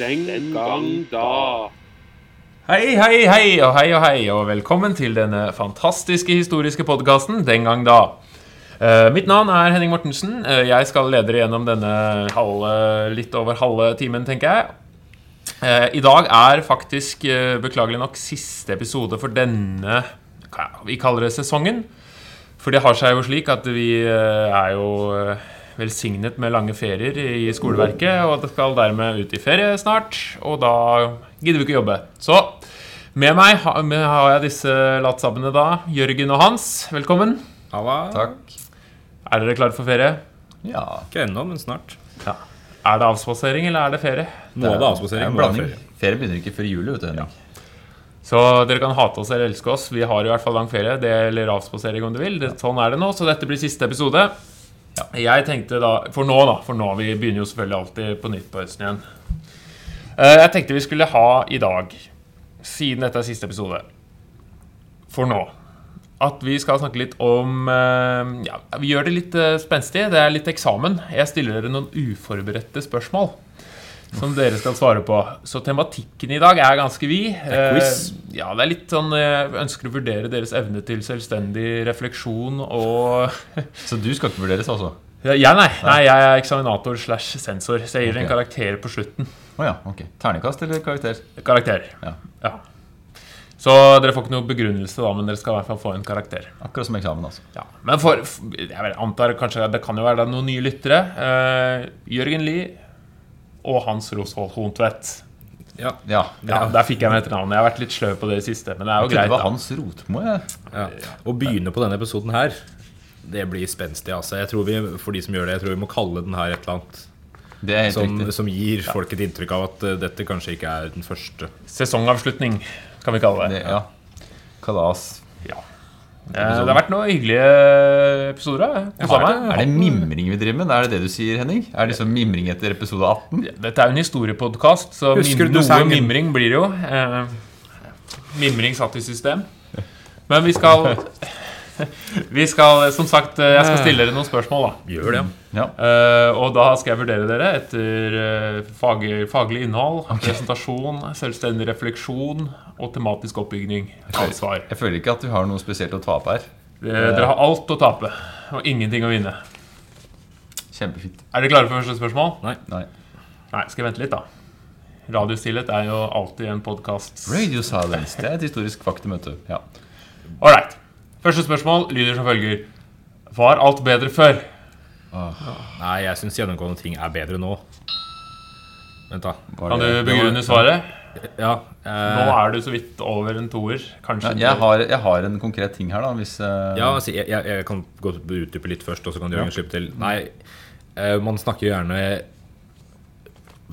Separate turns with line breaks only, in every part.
Den gang da.
Hei, hei, hei og hei og hei, og velkommen til denne fantastiske historiske podkasten Den gang da. Eh, mitt navn er Henning Mortensen. Eh, jeg skal lede dere gjennom denne halve, litt over halve timen, tenker jeg. Eh, I dag er faktisk, eh, beklagelig nok, siste episode for denne hva- Vi kaller det sesongen. For det har seg jo slik at vi eh, er jo eh, velsignet med lange ferier i skoleverket, og det skal dermed ut i ferie snart, og da gidder vi ikke jobbe. Så med meg ha- med har jeg disse latsabbene da. Jørgen og Hans, velkommen.
Takk.
Er dere klare for ferie?
Ja.
Ikke ennå, men snart.
Er det avspasering, eller er det ferie?
Nå er det
Det er
avspasering.
en
nå er det
blanding.
ferie.
Ferie begynner ikke før jul, vet du, Henrik.
Så dere kan hate oss eller elske oss. Vi har i hvert fall lang ferie. Det eller avspasering om du vil. Det, sånn er det nå. Så dette blir siste episode. Jeg tenkte da For nå, da. For nå, Vi begynner jo selvfølgelig alltid på nytt på høsten igjen. Eh, Jeg tenkte vi skulle ha i dag, siden dette er siste episode for nå, at vi skal snakke litt om eh, Ja, vi gjør det litt eh, spenstig. Det er litt eksamen. Jeg stiller dere noen uforberedte spørsmål som dere skal svare på. Så tematikken i dag er ganske vid. Eh,
quiz.
ja, det er litt sånn Jeg ønsker å vurdere deres evne til selvstendig refleksjon og
Så du skal ikke vurderes, altså?
ja, jeg, nei, nei. Jeg er eksaminator slash sensor, så jeg gir dere en
Ok.
karakter på slutten.
Å ja. Ok. Ternekast eller karakter?
Karakter.
Ja.
Ja. Så dere får ikke noe begrunnelse, da, men dere skal i hvert fall få en karakter.
Akkurat som eksamen, altså.
Ja, men for, f- jeg vet- antar kanskje at det kan jo være det er noen nye lyttere. Eh, Jørgen Lie og Hans Rosvold Hontvedt.
Ja.
Ja.
Ja, Der fikk jeg med etternavnet. Jeg har vært litt sløv på det i siste. Men det er jo
Jeg trodde
greit.
det var
da.
Hans Rotmo, jeg.
Ja. Å begynne på denne episoden her, det blir spenstig, altså. Jeg tror vi, for de som gjør det, jeg tror vi må kalle den her et eller annet
Det er helt
som,
riktig.
som gir folk et inntrykk av at eh, dette kanskje ikke er den første.
Sesongavslutning, kan vi kalle det.
Det, ja. Kalas.
Ja. Eh, det har vært noen hyggelige episoder. eh, Kosa meg.
Er det mimring vi driver med? Er det det du sier, Henning? Er det liksom mimring etter episode 18?
Dette er jo en historiepodkast, så
Husker
mim
du
noe
sangen?
mimring blir det jo. Eh, mimring satt i system. Men vi skal Vi skal, som sagt, eh, jeg skal stille dere noen spørsmål, da.
Gjør det.
Ja.
Eh, og da skal jeg vurdere dere etter eh, fag, faglig innhold, presentasjon, selvstendig refleksjon og tematisk oppbygning. Ansvar.
Jeg føler ikke at vi har noe spesielt å tape her.
Eh, dere har alt å tape og ingenting å vinne.
Kjempefint.
Er dere klare for første spørsmål?
Nei.
Nei, skal jeg vente litt, da. Radiostillhet er jo alltid en podkast
Radio silence. Det er et historisk faktum, vet du. Ja.
Ålreit. Første spørsmål lyder som følger. Var alt bedre før?
Nei, jeg syns gjennomgående ting er bedre nå. Vent, da.
Var
Kan du
det-
begrunne svaret?
Ja.
Nå
Eh,
er du så vidt over en toer. Kanskje
Nei, jeg, har, jeg har en konkret ting her, da. Hvis eh,
ja altså, jeg, jeg, jeg kan gå utdype litt først, og så kan Jørgen slippe til. Nei, eh, man snakker jo gjerne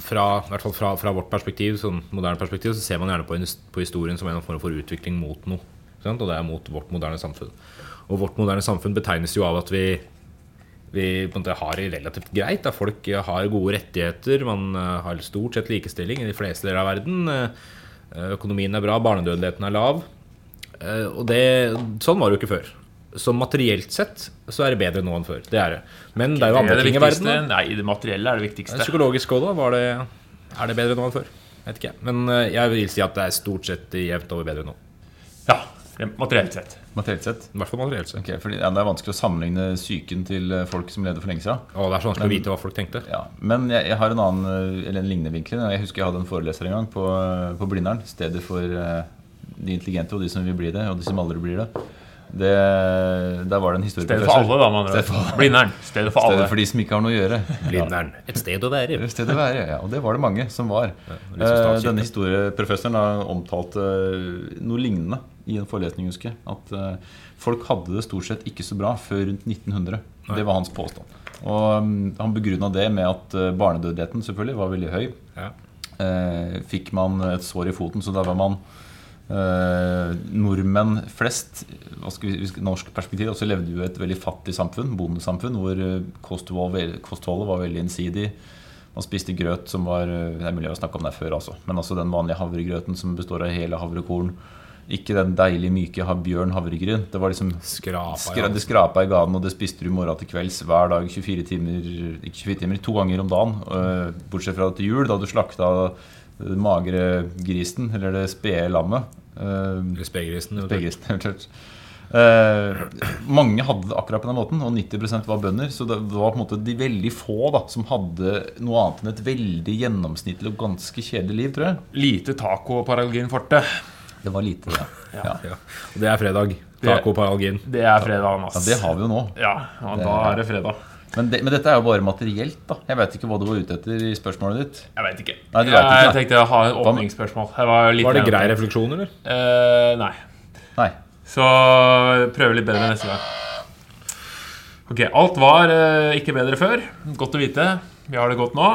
fra, i hvert fall fra, fra vårt perspektiv, sånn moderne perspektiv, så ser man gjerne på, indus- på historien som en form for utvikling mot noe. ikke Sant? Og det er mot vårt moderne samfunn. Og vårt moderne samfunn betegnes jo av at vi, vi på en måte har det relativt greit. Da. Folk eh, har gode rettigheter, man eh, har stort sett likestilling i de fleste deler av verden. eh, eh, Økonomien er bra, barnedødeligheten er lav. Eh, Og det, sånn var det jo ikke før. Så materielt sett så er det bedre nå enn før. Det er det. Men det er jo
Det er
andre
det
ting i verden.
viktigste.
da.
Nei, det materielle er det viktigste.
Psykologisk òg, da? Var det, er det bedre nå enn før? Vet ikke. Men eh, jeg vil si at det er stort sett jevnt over bedre nå.
Ja, rent materielt sett.
Materielt sett.
I hvert fall materielt sett.
Ok, fordi ja, Det er vanskelig å sammenligne psyken til eh, folk som levde for lenge siden.
Å, det er sånn så vanskelig å vite hva folk tenkte.
Ja, men jeg, jeg har en annen, eh, eller en lignende vinkel. Jeg husker jeg hadde en foreleser en gang på, eh, på Blindern. Stedet for eh, de intelligente og de som vil bli det, og de som aldri blir det. det der var det en
Stedet for alle,
historieprofessor.
da, med andre
Stedet for
ord. Blindern. Stedet for alle.
Stedet for de som ikke har noe å gjøre.
Blindern. Et sted å være.
Ja, Stedet å være, ja. Og det var det mange som var.
litt som
Eh,
statskirken.
Denne historieprofessoren da omtalte eh, noe lignende i en forelesning, husker jeg. At eh, folk hadde det stort sett ikke så bra før rundt 1900. Det var hans påstand. Og mm, han begrunna det med at eh, barnedødeligheten selvfølgelig var veldig høy.
Ja.
Eh, fikk man et sår i foten, så da var man eh, nordmenn flest hva skal vi, hvis- Norsk perspektiv, også levde jo i et veldig fattig samfunn, bondesamfunn, hvor eh, kosthold, vel- kostholdet var veldig innsidig. Man spiste grøt som var eh, Det er mulig å snakke om det før, altså. Men altså den vanlige havregrøten som består av hele havrekorn. Ikke den deilige, myke ha- bjørn havregryn. Det var liksom
Skrapa,
skra,
ja.
Det skrapa i ganen, og det spiste du morgen til kvelds hver dag 24 timer Ikke 24 timer, to ganger om dagen. eh, Bortsett fra til jul, da du slakta den magre grisen, eller det spede lammet. Eh,
Eller spegrisen. eventuelt.
Spede grisen, eventuelt. Eh, mange hadde det akkurat på den måten, og 90 var bønder. Så det var på en måte de veldig få da, som hadde noe annet enn et veldig gjennomsnittlig og ganske kjedelig liv, tror jeg.
Lite taco på Paralgin Forte.
Det var lite, det. Ja. Ja.
Ja. Og det er fredag. Taco på Algin.
Det er fredag, ass.
det har vi jo nå.
Ja, ja, da er det fredag.
Men, det, men dette er jo bare materielt, da. Jeg veit ikke hva du var ute etter i spørsmålet ditt.
Jeg veit ikke.
Nei, du vet ikke,
jeg
nei.
tenkte jeg har et åpningsspørsmål. Jeg var, litt
Var det
nærmere.
grei refleksjon, eller?
Eh, nei.
Nei.
Så prøve litt bedre neste gang. Ok, Alt var eh, ikke bedre før. Godt å vite. Vi har det godt nå.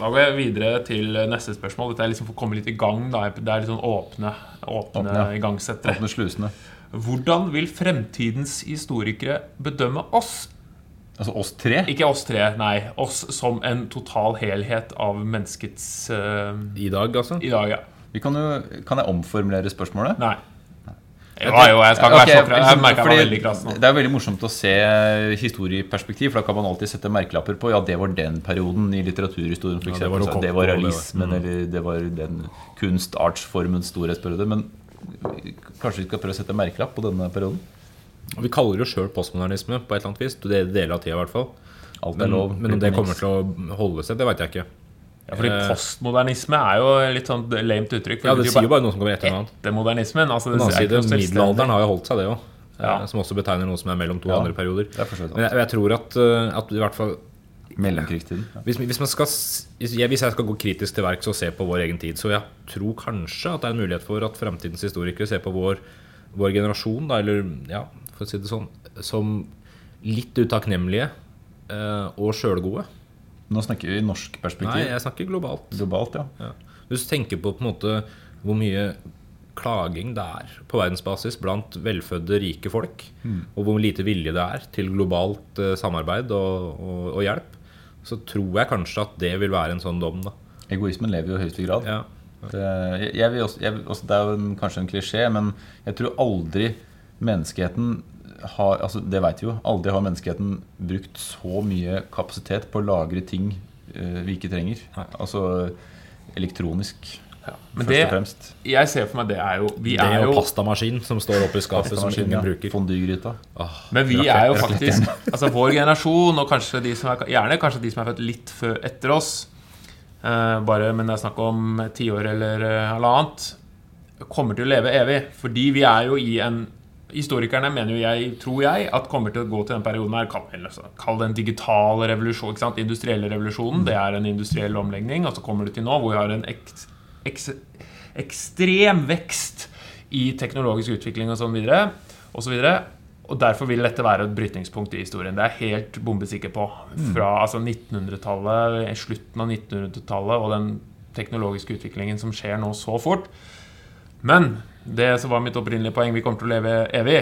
Da går jeg videre til neste spørsmål. Dette er liksom for å komme litt i gang. Da. Det er litt sånn åpne, åpne,
Åpne, ja.
igangsettere.
Åpne slusene.
Hvordan vil fremtidens historikere bedømme oss?
Altså oss tre?
Ikke oss tre, nei. Oss som en total helhet av menneskets eh,
I dag, altså?
I dag, ja.
Vi kan, jo, kan jeg omformulere spørsmålet?
Nei. Jo, jo, jeg skal ikke
Ok,
være så krass. Jeg
liksom,
merker jeg var
fordi
veldig krass nå.
Det er veldig morsomt å se historieperspektiv, for da kan man alltid sette merkelapper på Ja, det var den perioden i litteraturhistorien, for
Ja, det
eksempel.
var
så
rokokko,
det var
det var- Mm.
realismen, eller det var den kunstartsformens storhetsperiode. Men kanskje vi skal prøve å sette merkelapp på denne perioden?
Og Vi kaller det jo sjøl postmodernisme på et eller annet vis. Det er Deler av tida, i hvert fall.
Alt er
Men,
lov.
men om det kommer til å holde seg, det veit jeg ikke.
Ja, fordi
Eh,
postmodernisme er jo litt sånn lamet uttrykk. For
Ja, Det sier jo bare noe som kommer etter noe annet.
etter modernismen. Altså,
På den
det er ikke
annen
noe
side,
selvstendig.
middelalderen har jo holdt seg, det òg.
Ja.
Som også betegner noe som er mellom to
Ja,
andre perioder.
det er for så vidt sant.
Men jeg, jeg tror at, eh, at i hvert fall
Mellomkrigstiden. Ja.
hvis, hvis, man skal, s- hvis, jeg, hvis jeg skal gå kritisk til verks og se på vår egen tid, så jeg tror kanskje at det er en mulighet for at fremtidens historikere ser på vår, vår generasjon, da, eller ja, for å si det sånn, som litt utakknemlige eh, og sjølgode.
Nå snakker vi i norsk
Nei,
perspektiv.
jeg snakker globalt.
Globalt, ja.
Ja. Hvis du tenker på på en måte hvor mye klaging det er på verdensbasis blant velfødde, rike folk, og hvor lite vilje det er til globalt eh, samarbeid og, og, og hjelp, så tror jeg kanskje at det vil være en sånn dom. da.
Egoismen lever jo i høyeste grad.
Ja.
Det, eh, jeg- jeg vil også, jeg, vil også, det er jo en, kanskje en klisjé, men jeg tror aldri menneskeheten har altså Det vet vi jo. Aldri har menneskeheten brukt så mye kapasitet på å lagre ting eh, vi ikke trenger. Altså elektronisk,
Ja. Men
først og
det
fremst.
jeg ser for meg, det er jo Vi
Det
er
er jo
jo
pastamaskin som står oppe i skapet som
Pastamaskin,
ingen
ja.
bruker.
Fondygryta.
Men vi er jo faktisk Altså vår generasjon, og kanskje de som er, gjerne kanskje de som er født litt før, etter oss eh, Bare, Men det er snakk om tiår eller eh, halvannet Kommer til å leve evig. Fordi vi er jo i en Historikerne mener jo jeg, tror jeg, at kommer til å gå til den perioden her Kall, eller så- kall det en digital revolusjon. ikke sant? industrielle revolusjonen. Det er en industriell omlegning. Og så kommer du til nå, hvor vi har en eks, eks, ekstrem vekst i teknologisk utvikling og sånn videre. Og, så videre. og derfor vil dette være et brytningspunkt i historien. Det er jeg helt bombesikker på. Fra altså 1900-tallet, slutten av 1900-tallet og den teknologiske utviklingen som skjer nå så fort. Men det som var mitt opprinnelige poeng, vi kommer til å leve evig.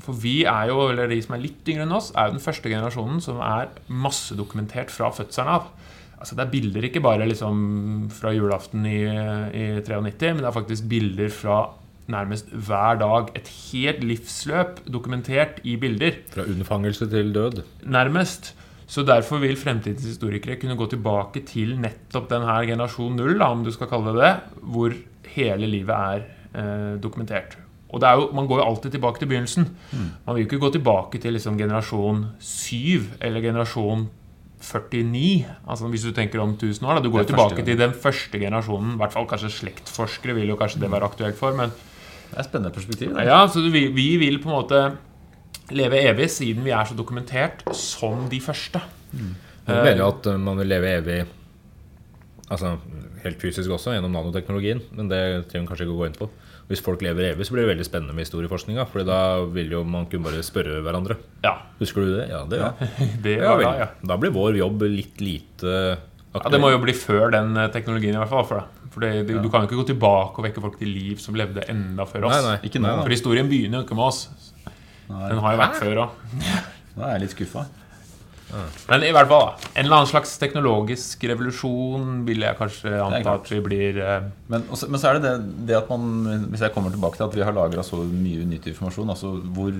For vi er jo, eller de som er litt yngre enn oss, er jo den første generasjonen som er massedokumentert fra fødselen av. Altså Det er bilder ikke bare liksom fra julaften i, i 93, men det er faktisk bilder fra nærmest hver dag. Et helt livsløp dokumentert i bilder
Fra unnfangelse til død.
nærmest. Så derfor vil fremtidens historikere kunne gå tilbake til nettopp den her generasjon null, da, om du skal kalle det det, hvor hele livet er eh, dokumentert. Og det er jo, Man går jo alltid tilbake til begynnelsen.
Mm.
Man vil jo ikke gå tilbake til liksom generasjon 7 eller generasjon 49. altså Hvis du tenker om 1000 år. da, Du går jo
Det er første
tilbake til den første generasjonen. I hvert fall kanskje Slektforskere vil jo kanskje det være aktuelt for. men
Det er et spennende perspektiv. da.
ja, så du, vi, vi vil på en måte leve evig siden vi er så dokumentert som de første.
Man mener jo at eh, man vil leve evig Altså helt fysisk også, gjennom nanoteknologien, men det trenger vi kanskje ikke å gå inn på. Hvis folk lever evig, så blir det veldig spennende med historieforskninga, for da vil jo man kunne bare spørre hverandre.
Ja,
Husker du det? Ja, det gjør jeg.
det
Ja,
var da,
vel.
ja.
Da blir vår jobb litt lite
ja. Det må jo bli før den eh, teknologien, i hvert fall. For, det. for det, du, du kan jo ikke gå tilbake og vekke folk til liv som levde enda før oss.
Nei, nei.
Ikke nå, da.
For historien begynner jo ikke med oss. Den har jo vært før òg.
Nå er jeg litt skuffa.
Men i hvert fall, da. En eller annen slags teknologisk revolusjon vil jeg kanskje
Det er
anta
klart.
at vi blir eh,
Men, også, men så er det det, det at man Hvis jeg kommer tilbake til at vi har lagra så mye nyttig informasjon, altså hvor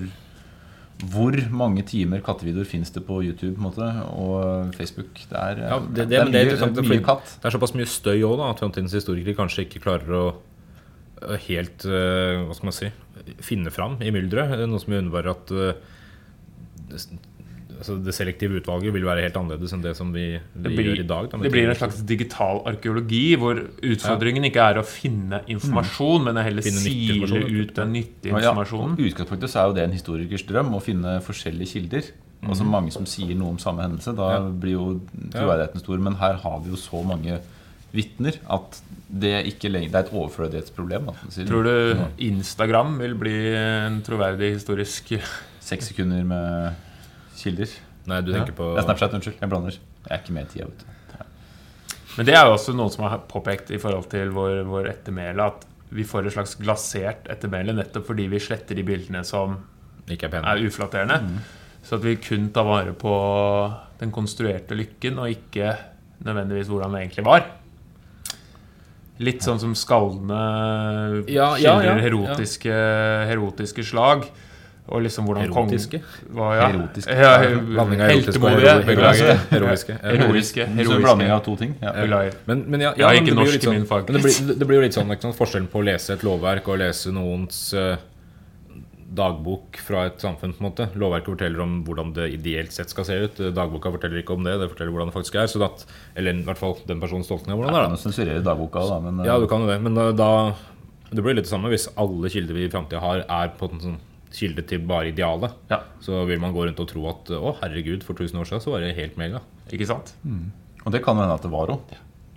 Hvor mange timer kattevideoer fins det på YouTube på en måte, og Facebook? Det er,
Ja, det, det,
det er
men det
mye,
er interessant,
mye
fordi
katt.
Det er såpass mye støy òg, da, at framtidens historikere kanskje ikke klarer å å helt eh, Hva skal man si finne fram i mylderet. Eh, Noe som innebærer at eh, det, s- altså det selektive utvalget vil være helt annerledes enn det som vi, vi
Det blir,
gjør i dag. da, med
det blir en
teknologi.
slags digital arkeologi hvor utfordringen ikke er å finne informasjon, men å heller
Mm. Finne nyttig
sile
informasjon,
ut den nyttige
Og ja,
informasjonen.
i utgangspunktet så er jo det en historikers drøm å finne forskjellige kilder.
Mhm.
Altså mange som sier noe om samme hendelse. Da
Ja.
blir jo troverdigheten stor. Men her har vi jo så mange vitner at det er, ikke lenger, det er et overflødighetsproblem. Da, sier
Tror du Instagram vil bli en troverdig historisk
Seks sekunder med kilder.
Nei, du tenker på
Det er Snapchat, unnskyld. Jeg blander. Jeg er ikke med i tida, vet du.
Men det er jo også noen som har påpekt i forhold til vår, vår ettermæle, at vi får et slags glasert ettermæle nettopp fordi vi sletter de bildene som
Ikke er pen.
er uflatterende.
Mm.
Så at vi kun tar vare på den konstruerte lykken, og ikke nødvendigvis hvordan det egentlig var. Litt sånn som skaldene
Ja, ja,
skildrer
ja, ja.
Herotiske, herotiske slag. Og liksom hvordan kong-
Erotiske?
Hva, ja.
Erotiske.
Ja,
Blanding av erotisk og
heltemodige.
heroisk.
Beklager.
Heroiske. Ja.
Heroiske.
Så en blanding
heroiske.
av to ting. Ja.
Beklager.
Men, men ja,
Jeg er
men
ikke
det blir jo
norsk
litt
i
sånn-
min fag.
Men det blir, det blir jo litt sånn, ikke sant, forskjellen på å lese et lovverk og å lese noens eh, dagbok fra et samfunn. på en måte Lovverket forteller om hvordan det ideelt sett skal se ut. Eh, Dagboka forteller ikke om det, det forteller hvordan det faktisk er. Så at, eller i hvert fall den personens tolkning av hvordan det er.
Nå sensurerer dagboka, da, men
Da. Ja, du kan jo det, men eh, da Det blir litt det samme hvis alle kilder vi i framtida har, er på en sånn kilde til bare idealet.
Ja.
Så vil man gå rundt og tro at å, herregud, for 1000 år siden så var det helt mega.
Ikke sant?
eh, Og det kan jo hende at det var òg.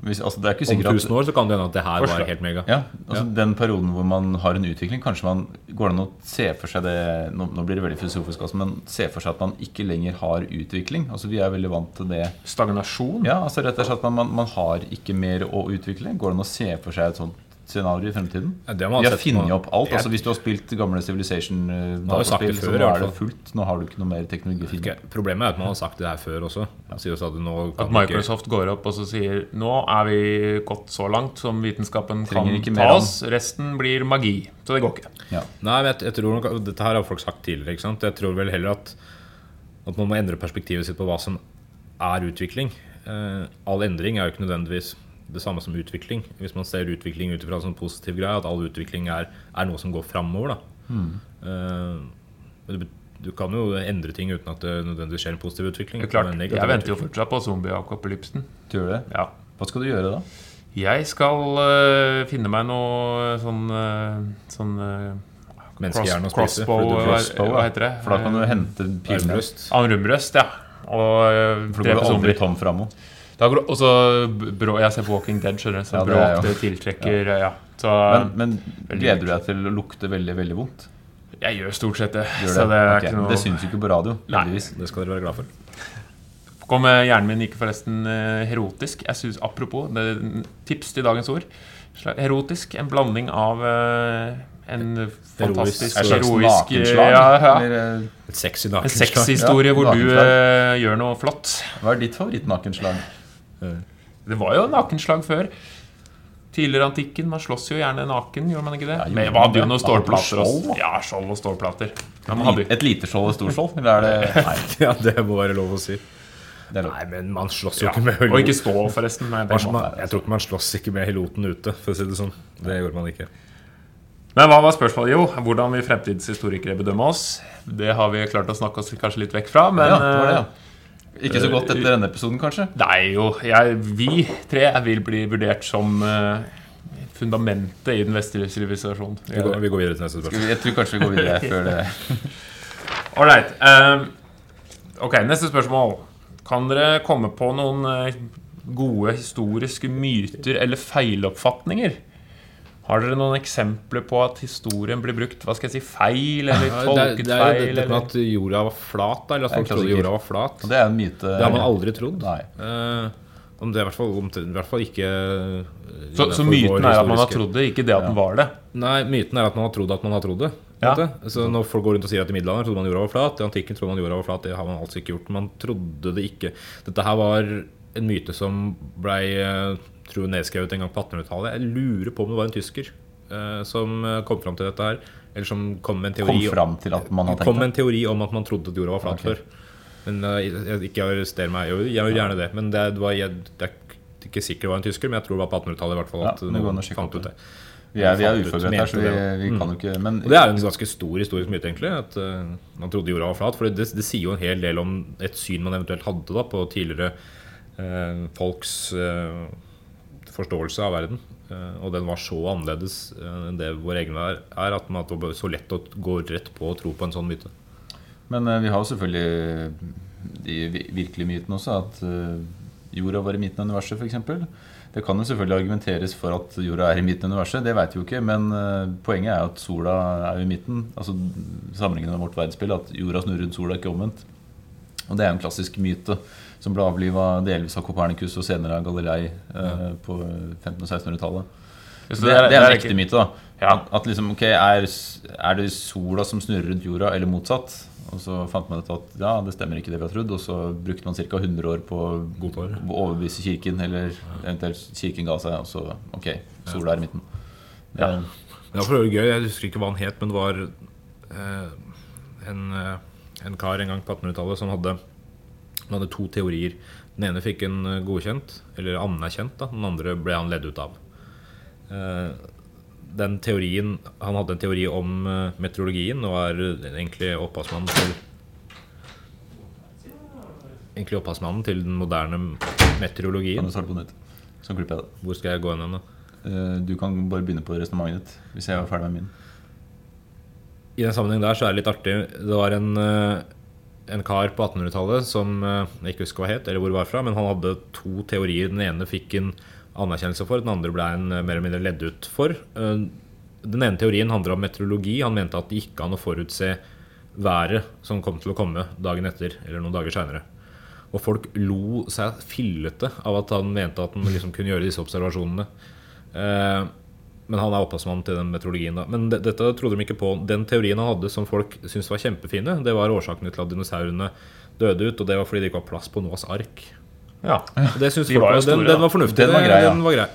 Altså, det er ikke
Om
sikkert at
1000 år så kan det hende at det her
Forslag.
var helt mega.
Ja, altså Den perioden hvor man har en utvikling, kanskje man går det an å se for seg det Nå, nå blir det veldig filosofisk, altså, men se for seg at man ikke lenger har utvikling. Altså Vi er veldig vant til det.
Stagnasjon.
Ja, altså rett og slett at man, man, man har ikke mer å utvikle. Går det an å se for seg et sånt scenario i fremtiden?
Ja, det har man
Vi har
sett
funnet
nå.
opp alt. altså Hvis du har spilt gamle
har jo sagt det
Civilization-dataspill,
før,
så
i
nå
hvert
er det
fall.
fullt. Nå har du ikke noe mer teknologi.
Ok, Problemet er at man har sagt det her før også. Man sier jo stadig nå
Mm. At
kan vi ikke-
Microsoft går opp og så sier Nå er vi gått så langt som vitenskapen kan
Trenger
ta
ikke mer av
oss. Resten blir magi. Så det går ikke.
Ja.
Nei, men jeg, jeg tror nok, Dette her har folk sagt tidligere. ikke sant? Jeg tror vel heller at, at man må endre perspektivet sitt på hva som er utvikling. Eh, all endring er jo ikke nødvendigvis det samme som utvikling. Hvis man ser utvikling ut ifra en sånn positiv greie, at all utvikling er, er noe som går framover. da.
Mm.
Eh, du, du kan jo endre ting uten at det nødvendigvis skjer en positiv utvikling.
Det er klart,
Men en negativ
Jeg venter jo
utvikling.
fortsatt på zombie-apokalypsen.
Du gjør det.
Ja.
Hva skal du gjøre da?
Jeg skal øh, finne meg noe sånn øh, Sånn øh,
Menneskehjerne å spise,
crossbow,
for
hva,
Crossbow,
hva
da.
heter det? Eh,
For da kan du hente pilbrøst.
Armbrøst.
Armrøst, ja. Og øh,
For du går
drepe
jo aldri
zombier.
tom framo.
Da går det- Og så brå Jeg ser på Walking Dead, skjønner du. Så
Ja, det er
bråk
jo-
det tiltrekker Ja. Så
Men, men gleder du deg til å lukte veldig, veldig vondt?
jeg gjør stort sett det.
Gjør
Så det er
Ok,
ikke
men
noe
Det syns jo ikke på radio,
Nei.
heldigvis.
Det skal dere være glad for.
Kom eh, hjernen min ikke forresten eh, herotisk. Jeg synes, Apropos det, er tips til dagens ord. Sla- Herotisk. En blanding av eh, en fantastisk
Er det slags
heroisk eh,
nakenslag?
ja, ja.
Eller, eh,
Et sexy
En
nakenslag.
sexhistorie
Ja,
hvor du
nakenslag.
eh, gjør noe flott.
eh, hva er ditt favorittnakenslag?
Det var jo nakenslag før. Tidligere i antikken. Man slåss jo gjerne naken, gjorde man ikke det?
Ja, gjorde
Men man hadde jo
man
noen
det? Man hadde
stålplater.
skjold,
også.
da.
Ja, skjold og stålplater. Ja, man hadde jo
Et lite skjold og stort skjold? Eller er det Nei.
Ja, det må være lov å si.
Det er lov.
Nei, men man slåss jo
ja.
ikke med høylo.
Og ikke stål, forresten. Nei, det
Man-
må.
man, jeg tror ikke man slåss ikke med heloten ute, for å si det sånn. Det gjorde man ikke.
Men hva var spørsmålet? Jo, hvordan vil fremtidshistorikere bedømme oss? Det har vi klart å snakke oss kanskje litt vekk fra, men
Ja, det var det, ja. Ikke så godt etter denne episoden, kanskje?
eh, det er jo jeg, Vi tre vil bli vurdert som eh, fundamentet i den vestlige sivilisasjonen.
Vi går, vi går videre til neste spørsmål.
Jeg tror kanskje vi går videre før det
Ålreit. ehm, ok, neste spørsmål. Kan dere komme på noen eh, gode historiske myter eller feiloppfatninger? Har dere noen eksempler på at historien blir brukt hva skal jeg si, feil, eller
Ja, det, er-
tolket
det er jo
feil?
dette med
eller-
at jorda var flat, da, eller at
Det er en
folk trodde
klassiker.
jorda var flat.
Og det er en myte.
Det har man aldri trodd.
Nei.
Eh, om det i hvert fall, om det, i hvert fall ikke eh,
Så, så
innenfor vår
myten er at man har
historiske-
trodd det, ikke det at den var det.
Nei, myten er at man har trodd at man har trodd det.
Ja.
vet du. Så når folk går rundt og sier at i middelalderen trodde man jorda var flat, i antikken trodde man jorda var flat, det har man altså ikke gjort. Man trodde det ikke. Dette her var en myte som blei eh, tror jeg, nedskrevet en gang på 1800-tallet. Jeg lurer på om det var en tysker. eh, som eh, kom fram til dette her. Eller som kom med en
Kom
teori
fram til at man har
kom
tenkt
med
det.
en teori om at man trodde at jorda var flat
Ok.
før. Men eh, jeg- ikke arrester meg. Jo, Jeg gjør gjerne det. Men det, var, jeg, det er ikke sikkert det var en tysker, men jeg tror det var på 1800-tallet i hvert fall
Ja,
at
det går an
noen
å sjekke
fant
opp
ut det.
Vi er, vi er
fant ut,
uforberedt her, så vi,
mente det. Mm.
vi kan jo ikke Men
Og det er jo en ganske stor historisk myte, egentlig. At eh, man trodde jorda var flat. For det, det sier jo en hel del om et syn man eventuelt hadde da, på tidligere eh, folks eh, forståelse av verden. Eh, og den var så annerledes eh, enn det vår egen er, er at, man, at det var så lett å gå rett på og tro på en sånn myte.
Men eh, vi har jo selvfølgelig de vi- virkelige mytene også. At eh, jorda var i midten av universet, f.eks. Det kan jo selvfølgelig argumenteres for at jorda er i midten av universet, det veit vi jo ikke. Men eh, poenget er jo at sola er jo i midten. Altså Sammenlignet med vårt verdensbilde, at jorda snurrer rundt sola, ikke omvendt. Og det er en klassisk myte som ble avliva delvis av Kopernikus og senere av Galilei eh, på 1500- og 1600-tallet.
Så
Det, er- det er en
ikke-
ekte myte, da.
Ja.
At, at liksom, ok, er, s- er det sola som snurrer rundt jorda, eller motsatt? Og så fant man ut at ja, det stemmer ikke det vi har trodd, og så brukte man ca. 100 år på å
Godtar det.
overbevise kirken, eller eventuelt kirken ga seg, og så ok, sola er i midten. Ja.
Det var for øvrig gøy. Jeg husker ikke hva han het, men det var eh, en, eh, en kar en gang på 1800-tallet som hadde, han hadde to teorier. Den ene fikk han eh, godkjent, eller anerkjent. da Den andre ble han ledd ut av. Eh, den teorien Han hadde en teori om eh, meteorologien og er eh, egentlig opphavsmannen til Egentlig opphavsmannen til den moderne
Kan
meteorologien.
du starte på nytt? Så klipper jeg det.
Hvor skal jeg gå hen? da?
Eh, Du kan bare begynne på resonnementet ditt, hvis jeg var ferdig med min.
I den sammenheng der så er det litt artig. Det var en, eh, en kar på 1800-tallet som eh, jeg ikke husker hva het, eller hvor det var fra, men han hadde to teorier. Den ene fikk en anerkjennelse for, den andre ble en eh, mer eller mindre ledd ut for. Eh, Den ene teorien handler om meteorologi. Han mente at det gikk an å forutse været som kom til å komme dagen etter, eller noen dager seinere. Og folk lo seg fillete av at han mente at han liksom kunne gjøre disse observasjonene. Eh, men han er opphavsmann til den meteorologien. da Men de, dette trodde de ikke på. Den teorien han hadde som folk syntes var kjempefine, det var årsakene til at dinosaurene døde ut, og det var fordi det ikke var plass på Noas ark.
Ja.
Og det synes
De
folk
var jo
var den,
store, da.
den var fornuftig.
Den var grei, ja.
Den var grei.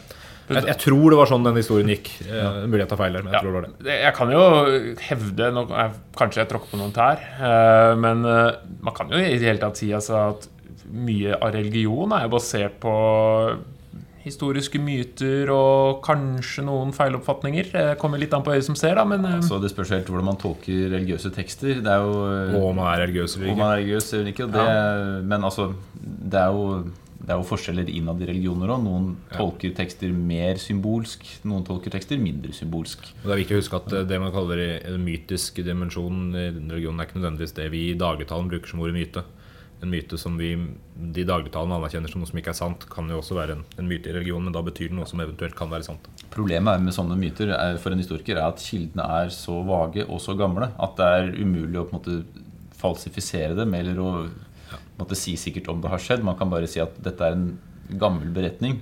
Jeg, jeg tror det var sånn den historien gikk. Eh, mulig jeg tar feil her, men jeg
Ja,
tror det var det.
det- jeg kan jo hevde nå- jeg- Kanskje jeg tråkker på noen tær. eh, Men eh, man kan jo i det hele tatt si altså, at mye av religion er jo basert på historiske myter og kanskje noen feiloppfatninger. Eh, Kommer litt an på øyet som ser, da, men eh,
Så det spørs helt hvordan man tolker religiøse tekster. Det er jo eh,
Og om man er religiøs eller
Om
ikke.
man er religiøs eller ikke. og Det, Men altså, det er jo, det er jo forskjeller innad i religioner òg. Noen tolker tekster mer symbolsk, noen tolker tekster mindre symbolsk.
Og det er viktig å huske at eh, det man kaller i- en mytisk dimensjon i den religionen, er ikke nødvendigvis det vi i dagligtalen bruker som ordet myte. En myte som vi de i dagligtalen anerkjenner som noe som ikke er sant, kan jo også være en, en myte i religionen, men da betyr det noe som eventuelt kan være sant.
Problemet er med sånne myter er, for en historiker er at kildene er så vage og så gamle at det er umulig å på en måte falsifisere dem eller å på en måte, si sikkert om det har skjedd. Man kan bare si at dette er en gammel beretning,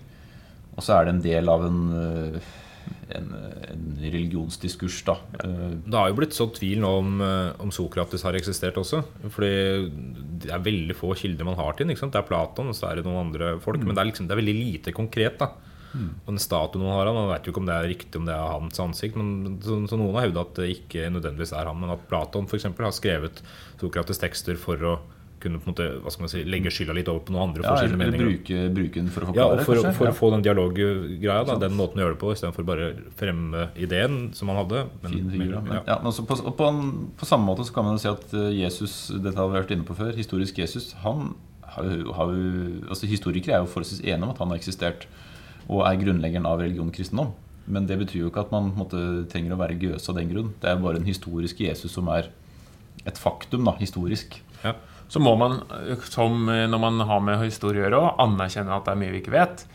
og så er det en del av en, øh, en, en religionsdiskurs. da. Øh,
Det har jo blitt sådd tvil nå om, eh, om Sokrates har eksistert også. Fordi det er veldig få kilder man har til den. ikke sant? Det er Platon og så er det noen andre folk.
Mm.
Men det er, liksom, det er veldig lite konkret. da. Og den statuen man har av, man vet jo ikke om det er riktig om det er hans ansikt. men Så, så noen har hevda at det ikke nødvendigvis er han. Men at Platon for eksempel, har skrevet Sokrates' tekster for å kunne på en måte, hva skal man si, legge skylda litt over på noen andre.
Ja,
for sine
eller
meninger.
bruke, bruke den for å
Ja,
forklare,
og for,
kanskje.
for
Ja.
å få den dialoggreia, da, den måten å gjøre det på, istedenfor bare fremme ideen som han hadde. Men,
Fin figur, da. Men,
ja.
ja. men også på, og på, en- på samme måte så kan man jo si at eh, Jesus, dette har vi vært inne på før, historisk Jesus, han har jo, har jo altså Historikere er jo forholdsvis enige om at han har eksistert og er grunnleggeren av religion kristendom. Men det betyr jo ikke at man på en måte, trenger å være religiøs av den grunn. Det er bare den historiske Jesus som er et faktum, da, historisk.
Ja.
så må man, eh, som eh, når man har med historie å gjøre, også, anerkjenne at det er mye vi ikke vet.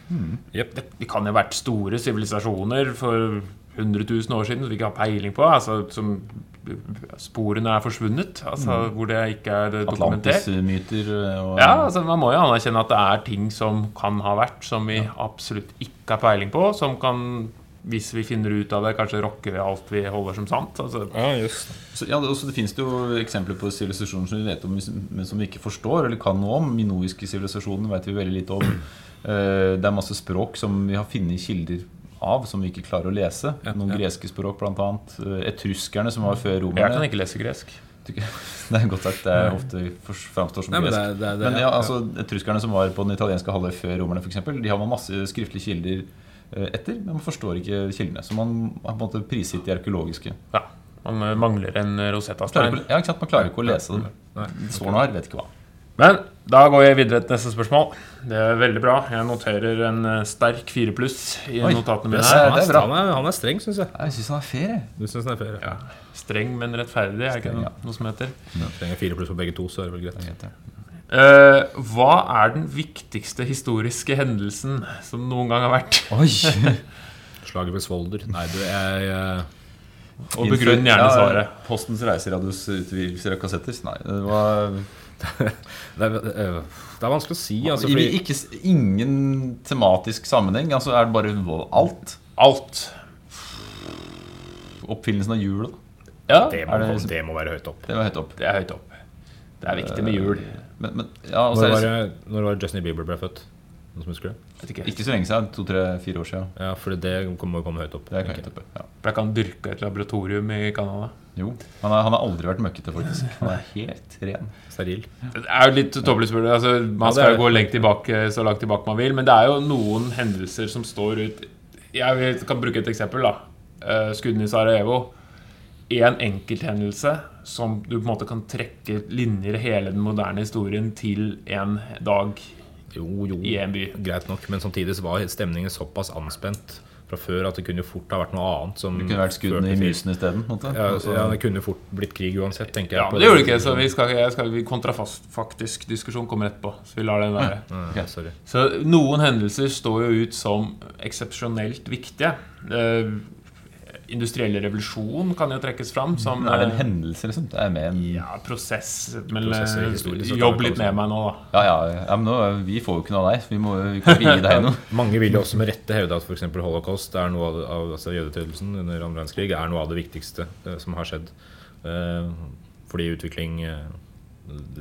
Jep.
det, det kan jo ha vært store sivilisasjoner for 100 000 år siden som vi ikke har peiling på. Altså, som sporene er forsvunnet. Altså, Hvor det ikke er dokumentert.
Atlantis-myter eh, og
Ja, altså Man må jo anerkjenne at det er ting som kan ha vært, som vi absolutt ikke har peiling på. Som kan, hvis vi finner ut av det, kanskje rokke ved alt vi holder som sant. Altså,
Ja, just.
Så, ja, det, også, det finnes det jo eksempler på sivilisasjoner som vi vet om, men som vi ikke forstår eller kan noe om. Minoiske sivilisasjoner vet vi veldig lite om. Eh, Det er masse språk som vi har funnet i kilder av som vi ikke klarer å lese. Noen greske språk, bl.a. Etruskerne, som var før
Jeg kan
romerne.
ikke lese gresk.
Det er godt sagt. Det er ofte fors- framstår som
Nei, men
gresk.
det, er- det, er- det, er-
Men ja, altså, Etruskerne som var på den italienske halvøy før romerne, for eksempel, de har man masse skriftlige kilder eh, etter, men man forstår ikke kildene. Så man har på en måte prisgitt de arkeologiske.
Ja, Man eh, mangler en
Klarer
Rosetta-stein.
ikke, ja, ikke sant? Man klarer ikke å lese dem.
Nei.
Det står noe her, vet ikke hva.
Men da går jeg videre til neste spørsmål. Det er veldig bra. Jeg noterer en eh, sterk fire pluss i
Oi,
notatene
det
mine.
er-
her.
han,
det
er,
er bra.
han, er, han er streng, syns jeg.
Jeg syns han er fair, jeg.
Du synes han er fair, ja.
Streng, men rettferdig. Er ikke
Streng, ja.
noe, noe som heter.
Trenger fire pluss på begge to, så er det vel greit.
Vet jeg.
Eh, hva er den viktigste historiske hendelsen som noen gang har vært?
Oi!
Slaget ved Svolder. Nei, du, jeg, eh, jeg
Og begrunn gjerne svaret.
Ja, postens reiseradios utvidelser av kassetter? Nei, det var
det, er, øh, det er vanskelig å si, altså.
I-
Fordi,
ikke, s- Ingen tematisk sammenheng. Altså Er det bare vo- alt?
Alt.
Oppfinnelsen av hjulet?
Ja,
det,
det
må,
er det-
det må være høyt opp.
Det var høyt opp.
er høyt opp. Eh, Det er viktig med jul.
Men, men ja, og så
Når
er
var,
det,
det- når var det Justin Bieber ble født? Noen som husker det?
Vet ikke.
ikke så lenge siden. To-tre-fire år siden.
Ja, for det kom- må jo komme høyt opp.
Det er
tenker
høyt
jeg.
oppe. Ja.
Ble ikke han dyrka i et laboratorium i Canada?
Jo. Han har, han har aldri vært møkkete, faktisk. Han er helt ren.
Steril.
Det er jo litt tåpelig spørsmål. Altså, man
det er
skal jo
det.
gå lengt tilbake, så langt tilbake man vil, men det er jo noen hendelser som står ut Jeg vil- kan bruke et eksempel. da Eh, Skuddene i Sarajevo. Én enkelthendelse som du på en måte kan trekke linjer i hele den moderne historien til en dag
Jo, jo.
i en by.
Greit nok, men samtidig så var stemningen såpass anspent fra før at det kunne jo fort ha vært noe annet som
Det kunne vært skuddene i musen isteden. på en måte.
Mm. Ja, altså,
Og så-
ja, det kunne fort blitt krig uansett, tenker jeg.
Ja,
på
men Det gjorde det ikke, så vi skal, jeg skal, vi kontrafaktisk diskusjon kommer etterpå. Så vi lar den være.
Ja, sorry.
Så noen hendelser står jo ut som eksepsjonelt viktige. Eh, industrielle revolusjon kan jo trekkes fram som
Mm.
eh,
Men Er det en hendelse, liksom? Det er med en ja,
ja, prosess. Men
Prosesser i
eh,
historien, så kan
jobb
det
litt med
kalles
meg nå, da.
ja, ja, men nå, Vi får jo ikke noe av deg. så Vi må jo ikke gi deg noe.
Mange vil jo også med rette hevde at f.eks. holocaust, er noe av, av, altså jødeutrydelsen under andre verdenskrig, er noe av det viktigste eh, som har skjedd. Eh, fordi utvikling eh,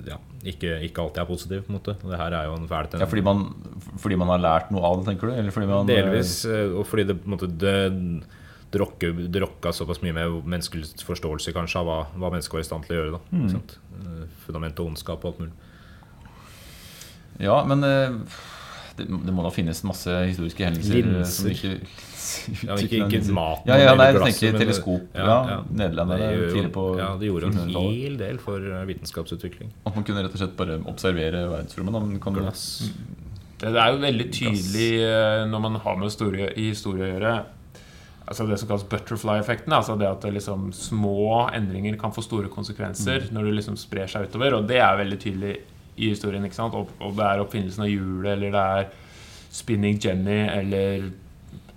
ja, ikke, ikke alltid er positiv, på en måte. Og det her er jo en fæl
Ja,
tendens.
fordi man, fordi man har lært noe av det, tenker du? Eller fordi man,
Delvis, eh, og fordi det på en måte det, det, rokker, det rokka såpass mye med menneskelig forståelse kanskje av hva, hva mennesker var i stand til å gjøre.
Mm.
da ikke sant? Eh, Fundament og ondskap og alt mulig.
Ja, men eh, det, det må da finnes masse historiske hendelser eh, som ikke
Ja, ikke, ikke maten
Ja, ja,
eller
nei, jeg
glasset,
tenker
men-
teleskop. Ja, Nederlenderne
Det gjør jo-
tidlig på
ja, det gjorde en
1400-tallet.
hel del for eh, vitenskapsutvikling.
At man kunne rett og slett bare observere verdensrommet. da, men kan du-
Glass.
Det, det er jo veldig tydelig eh, når man har med historie, i historie å gjøre. Altså Det som kalles butterfly-effekten. Altså det at det liksom små endringer kan få store konsekvenser når det liksom sprer seg utover. Og det er veldig tydelig i historien. ikke sant? Om om det er oppfinnelsen av hjulet, eller det er Spinning Jenny, eller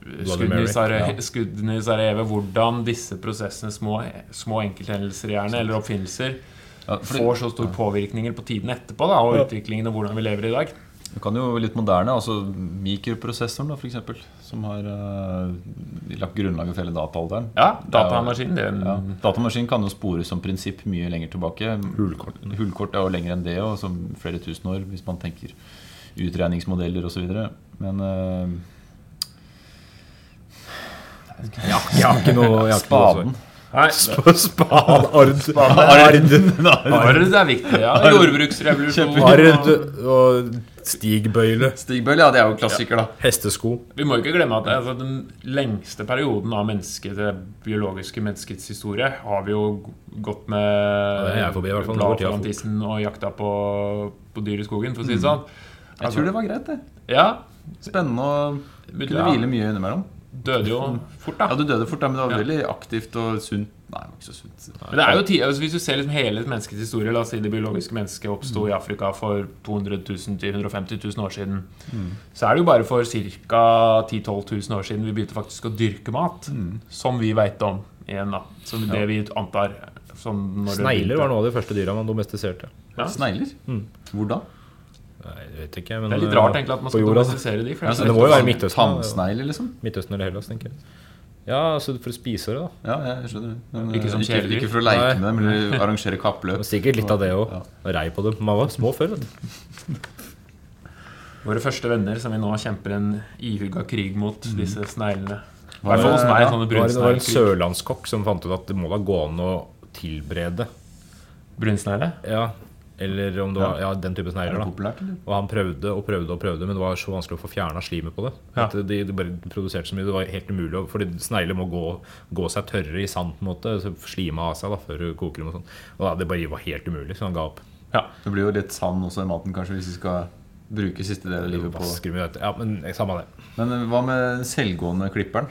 skuddene
Mary,
i, Sara
ja.
skuddene i Sarajevo. Hvordan disse prosessene, små, små enkelthendelser gjerne, eller oppfinnelser,
Ja, for
får så store påvirkninger på tiden etterpå da, og utviklingen og hvordan vi lever i dag.
Du kan jo litt moderne, altså mikroprosessoren da, for eksempel, som har eh, lagt grunnlaget for hele dataalderen.
Ja, datamaskinen. Det er en
Ja. Datamaskin kan jo spores som prinsipp mye lenger tilbake. Hullkort, er jo lenger enn det, og som flere tusen år, hvis man tenker utregningsmodeller osv. Men eh,
Jeg har ikke noe jeg har ikke noe
spaden
Nei,
Spaden, ard,
Arv er viktig. ja Jordbruksrevolusjon.
ard og stigbøyle.
Stigbøyle, ja, det er jo klassiker, da.
Hestesko.
Vi må ikke glemme at altså, den lengste perioden av mennesket, det biologiske menneskets historie har vi jo gått med
det er jeg forbi, i hvert fall. Det går
blad
tida
foran
fort. Mm.
tissen og jakta på, på dyr i skogen, for å si det sånn.
Jeg tror det var greit, det.
Ja,
Spennende å
Men
kunne
ja.
hvile mye innimellom.
døde jo fort,
Ja,
da.
du døde fort, da, men det var
Ja.
veldig aktivt og sunt. Nei, det var ikke så sunt.
Men det er jo ti, altså, Hvis du ser liksom hele menneskets historie La oss si det biologiske mennesket oppsto i Afrika for 200 000-150 000 år siden. Så er det jo bare for ca. 10 000-12 000 år siden vi begynte faktisk å dyrke mat. Som vi veit om igjen, da. Som det vi antar. Som når det
Snegler
begynte.
var noe av de første dyra man domestiserte.
Ja.
Snegler?
Mm.
Hvor da?
Nei, jeg vet ikke, men eh,
Det er litt rart egentlig at man
på
skal
jorda, da.
domestisere de. For
Ja,
det
så det
er
må jo være Midtøsten, da.
Tannsnegler, liksom?
Midtøsten eller Hellas, tenker jeg. Ja, altså for å spise det, da.
Ja, jeg skjønner. Men,
Ikke som
eh, ikke,
kjæledyr.
ikke for å leke
Nei.
med dem eller arrangere kappløp.
Men sikkert litt av det òg.
Ja.
Rei på dem. Man var små før, vet du.
sånn Våre første venner som vi nå kjemper en ihuga krig mot, disse sneglene. I
Hva
hvert fall hos
med-
meg.
ja,
sånne
Mm. Det var, det var en
brunsneglekrig.
sørlandskokk som fant ut at det må da gå an å tilberede.
Brunsnegle?
Ja, eller om det var ja, den type
Er
snegler.
det
da
populært, eller?
Og han prøvde og prøvde og prøvde, men det var så vanskelig å få fjerna slimet på det.
Ja.
At de, de bare produserte så mye, det var helt umulig. å- Fordi snegler må gå, gå seg tørre i sand, på en måte. Så slime av seg da før du koker dem og sånn. Og da, det bare var helt umulig, så han ga opp.
Ja.
Det blir jo litt sand også i maten, kanskje, hvis vi skal bruke siste del av livet på
Vasker med dette. Ja, men samme det.
Men eh, hva med den selvgående klipperen?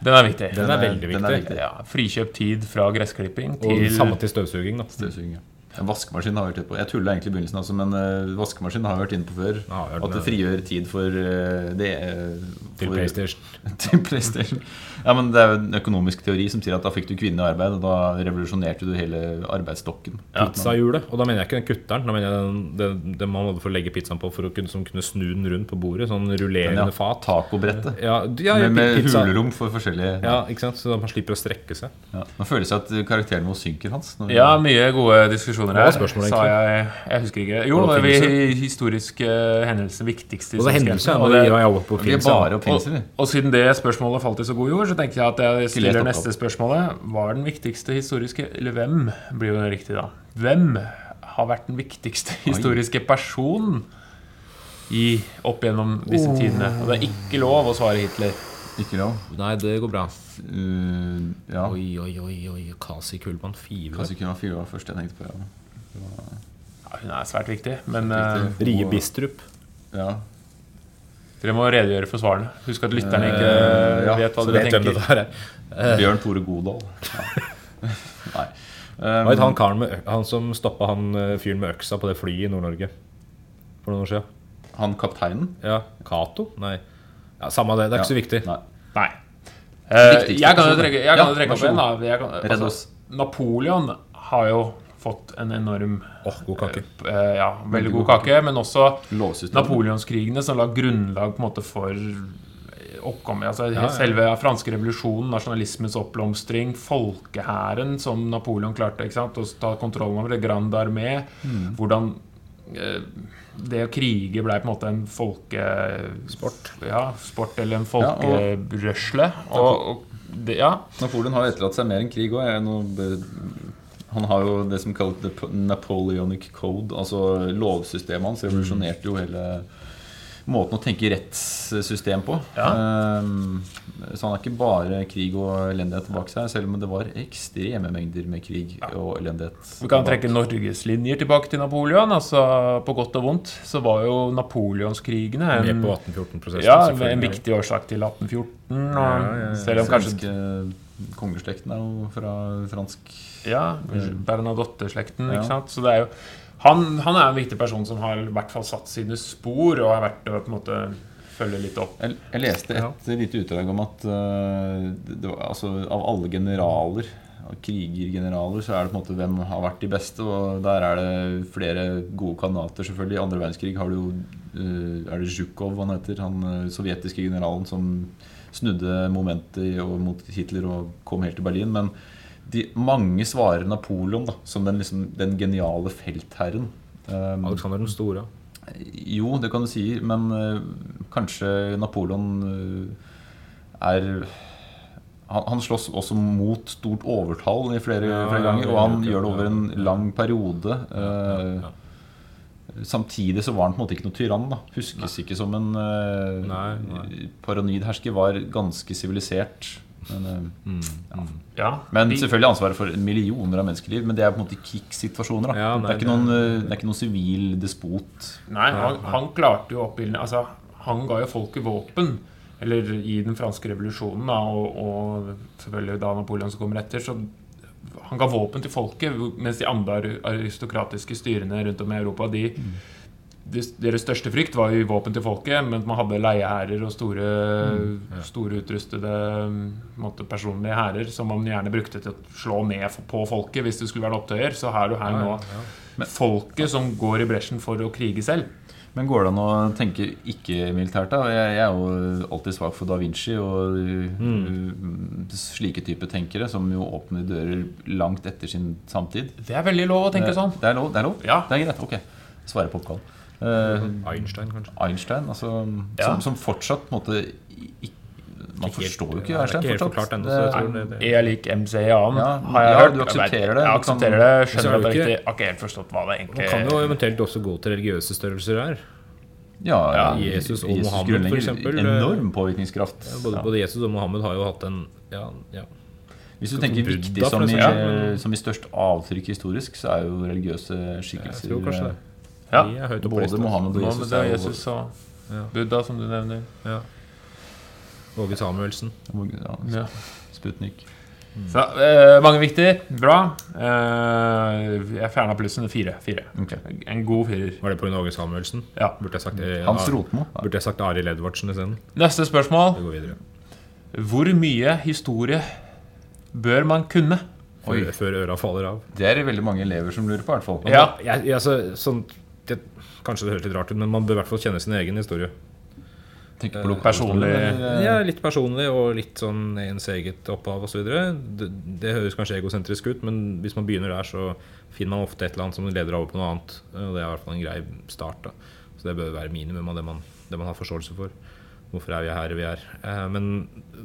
Den er viktig.
Den er veldig
den
viktig.
er viktig.
Ja, Frikjøpt tid fra gressklipping
Og
til
samme til støvsuging, da.
Støvsuging, ja. En vaskemaskin har vi vært inne på. Jeg tulla egentlig i begynnelsen, altså, men eh, vaskemaskin har vi vært inne på før.
Ja, vi har vært
at det
med.
frigjør tid for eh, det eh,
Til
for-
PlayStation.
til PlayStation. Ja, men det er jo en økonomisk teori som sier at da fikk du kvinnen i arbeid, og da revolusjonerte du hele arbeidsstokken.
Pizzahjulet. Og da mener jeg ikke den kutteren. Da mener jeg den, den, den man hadde for å legge pizzaen på for å kunne, som kunne snu den rundt på bordet. Sånn rullerende
Ja,
fat.
Tacobrettet.
Ja, d- ja,
Med, med
pizza.
hulrom for forskjellige ja.
Ja, ikke sant? Så man slipper å strekke seg.
Nå føles det at karakteren vår synker, Hans. Når vi-
Ja, mye gode diskusjoner
Hva
her.
var spørsmålet,
Sa jeg, jeg husker ikke. Jo,
Var
det
det
er
oppfinnelse?
vi historiske hendelser. Viktigste
Og
historiske
det hendelser.
hendelser, og
Og
det-
det gir meg på
Vi er
pizza.
bare oppfinnelser, vi.
og, og siden det spørsmålet falt i så god jord, så tenkte jeg at jeg
Ikke lett
stiller
oppgave.
neste spørsmålet. Hva er den viktigste historiske Eller hvem blir jo det riktig, da. Hvem har vært den viktigste historiske person i, opp gjennom disse tidene? Og det er ikke lov å svare Hitler.
Ikke lov.
Nei, det går bra.
Uh, ja.
Oi, oi, oi, oi. Kasi Kullmann Five.
Kanskje kunne være fyra var første jeg tenkte på. Ja.
Ja, hun er svært viktig, men
Svært
eh,
viktig.
Rie Bistrup.
Ja.
dere må redegjøre for svarene. Husk at lytterne ikke
Eh, ja,
vet hva
Så
dere
vet hvem
tenker.
dette her er.
Eh.
Bjørn Tore Godal. Ja. Nei. Um,
Hva het han karen med ø- Han som stoppa han eh, fyren med øksa på det flyet i Nord-Norge for noen år siden?
han kapteinen?
Ja. Cato? Nei. Ja, Samme det. Det er ikke så viktig.
Nei.
Nei. Eh,
Viktigste
jeg kan jo
personen.
trekke, jeg kan jo
Ja,
trekke
vær
opp
så
en. Da.
god.
Jeg kan, altså,
Redd oss.
Napoleon har jo fått en enorm
Åh, god kake.
eh, ja, veldig god kake, men også
Låses ut.
napoleonskrigene som la grunnlag på en måte for oppkommet, altså
ja.
Selve franske revolusjonen, nasjonalismens oppblomstring, folkehæren som Napoleon klarte ikke sant? å ta kontrollen over, det Grand Armé Hvordan eh, det å krige ble på en måte en folkesport. Ja, sport eller en
Ja, og-
folkerørsle. og, og det, ja,
Napoleon har jo etterlatt seg mer enn krig òg. Han har jo det som kalles the Napoleonic Code. Altså lovsystemet hans revolusjonerte jo hele måten å tenke rettssystem på. Um, så han har ikke bare krig og elendighet bak seg, selv om det var ekstreme mengder med krig og elendighet.
Vi kan
bak.
trekke norgeslinjer tilbake til Napoleon. altså På godt og vondt så var jo napoleonskrigene
Med
en,
på 1814-prosessen.
ja,
selvfølgelig.
en viktig årsak til 1814. Og,
Ja, ja, ja.
Selv om kanskje
Svenske kongeslekten er jo fra fransk
ja, Bernadotte-slekten.
Ja.
ikke sant? Så det er jo, han, han er en viktig person som har i hvert fall satt sine spor, og har vært å på en måte følge litt opp.
Jeg, jeg leste et lite utdrag om at eh, det var, altså, av alle generaler, av krigergeneraler, så er det på en måte hvem har vært de beste. Og der er det flere gode kandidater, selvfølgelig. I andre verdenskrig har du jo eh, Er det Zjukov han heter? Han eh, sovjetiske generalen som snudde momentet i- og mot Hitler og kom helt til Berlin. Men de, mange svarer Napoleon da, som den, liksom, den geniale feltherren. Um,
Alexander den store.
jo, det kan du si, men eh, kanskje Napoleon eh, er han, han slåss også mot stort overtall i flere,
Ja,
flere
ja,
ganger,
det
og han
gjør det,
gjør det over
ja.
en lang periode. eh,
ja.
Samtidig så var han på en måte ikke noe tyrann. da Huskes ikke som en eh,
Nei, nei.
paranoid hersker. Var ganske sivilisert. Men, eh,
Ja,
men
de-
selvfølgelig ansvaret for millioner av menneskeliv. Men det er på en måte kick-situasjoner. da
Ja,
det,
nei,
er ikke noen, eh, det er ikke noen sivil despot.
Nei, han, han klarte jo å oppildne Altså, han ga jo folket våpen. Eller i den franske revolusjonen, da, og, og selvfølgelig da Napoleon som kommer etter. Så han ga våpen til folket, mens de andre ar- aristokratiske styrene rundt om i Europa, de, de, deres største frykt var jo våpen til folket, men man hadde leieherrer og store, store utrustede på en måte, personlige hærer som man gjerne brukte til å slå ned f- på folket hvis det skulle være en opptøyer. Så her og her nå folket som går i bresjen for å krige selv.
Men går det an å tenke ikke-militært? da? Jeg, jeg er jo alltid svak for da Vinci og
Mm.
uh, slike type tenkere, som jo åpner dører langt etter sin samtid.
Det er veldig lov å tenke sånn.
Det er lov? Det er, lov?
Ja.
Det er greit. Ok. Svare på oppkall. Eh,
Einstein, kanskje.
Einstein, altså,
Ja.
som, som fortsatt på en måte i- i- Man
Ikke helt-
forstår jo
ja, det
ikke
er
Einstein
ikke helt
fortsatt.
forklart ennå,
Det
så jeg
er-
tror det, det.
E er lik MC i annen,
Ja,
har jeg
ja,
hørt.
du aksepterer
Jeg vet- Jeg
det. Du kan-
aksepterer det,
Men så
skjønner
har
at
du
det er
ikke-
riktig. Jeg Har ikke helt forstått hva det
Man kan
egentlig
jo eventuelt også gå til religiøse størrelser her.
ja,
Ja, Jesus og Mohammed, for
grunnlegger
eksempel, eh,
Enorm påvirkningskraft.
Både,
Ja.
både Jesus og Mohammed har jo hatt en ja, ja.
Hvis du tenker
Buddha,
viktig
for
som i,
eksempel, men-
som i størst avtrykk historisk, så er jo religiøse skikkelser
Jeg tror kanskje det.
Ja.
De er høyt oppe på
eh, Både
lista.
Mohammed og Jesus.
Mohammed
er
og
jo-
Jesus og
Ja.
Buddha, som du nevner.
Ja. Åge Samuelsen.
Ja, Sputnik.
Så, eh, mange viktige. Bra. Eh, jeg fjerna plussen. Fire. fire.
Ok.
En god firer.
Var det pga. Åge Samuelsen?
Ja.
Burde jeg sagt, eh,
Hans
Ar-
Rotmo.
Burde jeg sagt Arild Edvardsen isteden?
Neste
Vi
spørsmål.
går videre.
Hvor mye historie bør man kunne?
Oi.
Før, før øra faller av.
Det er det veldig mange elever som lurer på, i hvert fall.
Ja.
Jeg, jeg, altså, sånn, det, kanskje det høres litt rart ut, men man bør i hvert fall kjenne sin egen historie.
Tenker på lokal-
Personlig
eller, eh,
Ja, Litt personlig og litt sånn ens eget opphav osv. Det, det høres kanskje egosentrisk ut, men hvis man begynner der, så finner man ofte et eller annet som leder over på noe annet. eh, Og det er i hvert fall en grei start. da. Så det bør være minimum av det man, det man har forståelse for. Hvorfor er vi her vi er? Eh, men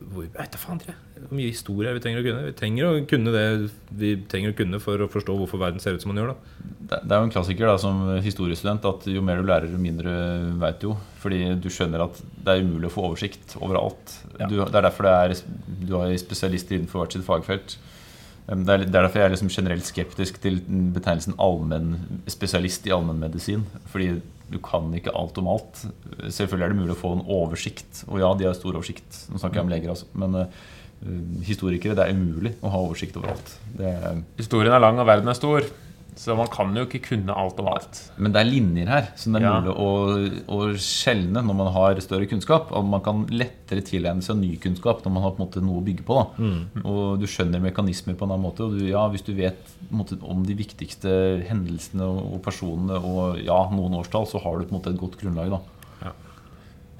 hvor, jeg vet da faen, dere. Hvor mye historie er vi trenger å kunne? Vi trenger å kunne det vi trenger å kunne for å forstå hvorfor verden ser ut som den gjør. da.
Det det er jo en klassiker da, som historiestudent at jo mer du lærer, jo mindre veit du. jo. Fordi du skjønner at det er umulig å få oversikt over alt. Du, det er derfor det er, du har spesialister innenfor hvert sitt fagfelt. Um, Det er, litt- det er derfor jeg er liksom generelt skeptisk til betegnelsen allmenn, spesialist i allmennmedisin. Fordi du kan ikke alt om alt. Selvfølgelig er det mulig å få en oversikt. Og ja, de har stor oversikt. Nå snakker jeg om leger, altså. Men eh, historikere, det er umulig å ha oversikt over alt. Det er
Historien er lang, og verden er stor. Så man kan jo ikke kunne alt om alt.
Men det er linjer her som det er
Ja.
mulig å, å skjelne når man har større kunnskap. At man kan lettere tilegne seg ny kunnskap når man har på en måte noe å bygge på. Da.
Mm.
Og du skjønner mekanismer på en annen måte. Og du, ja, hvis du vet på en måte, om de viktigste hendelsene og, og personene og ja, noen årstall, så har du på en måte et godt grunnlag. Da.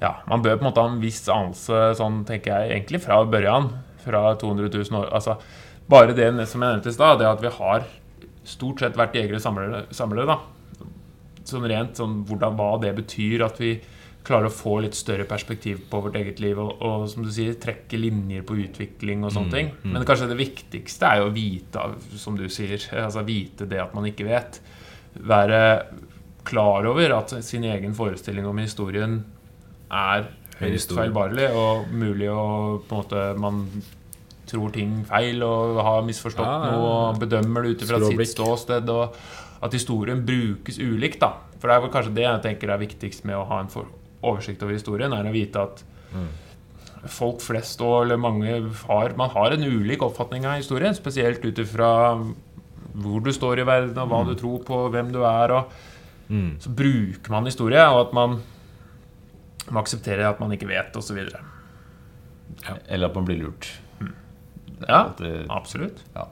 Ja, Man bør på en måte ha en viss anelse, sånn tenker jeg, egentlig fra børjan. Fra 200 000 år. Altså, bare det som jeg nevnte i stad, det at vi har stort sett vært jegere og samlere, samlere da. Sånn rent sånn hvordan, hva det betyr at vi klarer å få litt større perspektiv på vårt eget liv og, og som du sier, trekke linjer på utvikling og
Mm,
sånne ting. Men kanskje det viktigste er jo å vite, som du sier, altså vite det at man ikke vet. Være klar over at sin egen forestilling om historien er
En
høyst
historie.
feilbarlig og mulig å på en måte man tror ting feil og har misforstått
Ja, ja, ja.
noe og bedømmer det ut fra
Skråblikk.
sitt ståsted. Og at historien brukes ulikt. da For det er vel kanskje det jeg tenker er viktigst med å ha en for oversikt over historien, er å vite at folk flest og eller mange har Man har en ulik oppfatning av historien, spesielt ut ifra hvor du står i verden, og hva du tror på, hvem du er. Og så bruker man historie, og at man, man aksepterer at man ikke vet, osv.
Eller at man blir lurt.
Ja,
At eh, det-
absolutt.
Ja.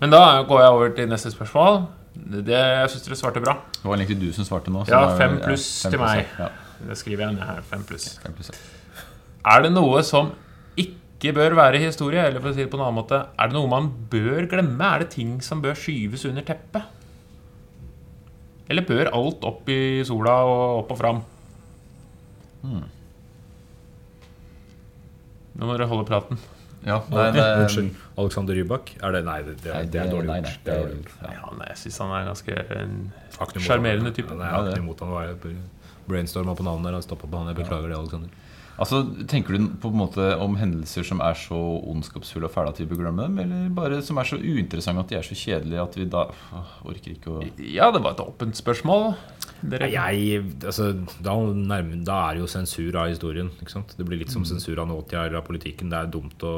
Men da går jeg over til neste spørsmål. Det, jeg syns dere svarte bra.
Det var egentlig du som svarte nå. så
Ja,
da-
fem pluss
fem
til
pluss,
meg.
Ja,
Det skriver jeg ned her. Fem pluss.
fem pluss.
Er det noe som ikke bør være historie? Eller for å si det på en annen måte, er det noe man bør glemme? Er det ting som bør skyves under teppet? Eller bør alt opp i sola og opp og fram? Nå må dere holde praten.
Ja, nei, det,
Unnskyld. Alexander Rybak? Er det, nei, det, det,
Nei,
det er dårlig
nei,
gjort.
nei,
Det er dårlig gjort.
ja.
Ja, nei, jeg syns han er ganske en
Har ikke noe imot
Sjarmerende
han.
type.
Nei, jeg
Ja,
har
det.
ikke noe imot han. og Jeg bare brainstorma på navnet der og stoppa på han. Jeg beklager det, Alexander.
Altså, Tenker du på en måte om hendelser som er så ondskapsfulle og fæle at vi bør glemme dem, eller bare som er så uinteressante at de er så kjedelige at vi da Åh, orker ikke å
Ja, det var et åpent spørsmål. Dere,
Jeg, altså, da, nærmer, da er det jo sensur av historien. Ikke sant? Det blir litt som sensur av nåtida eller av politikken. Det er dumt å,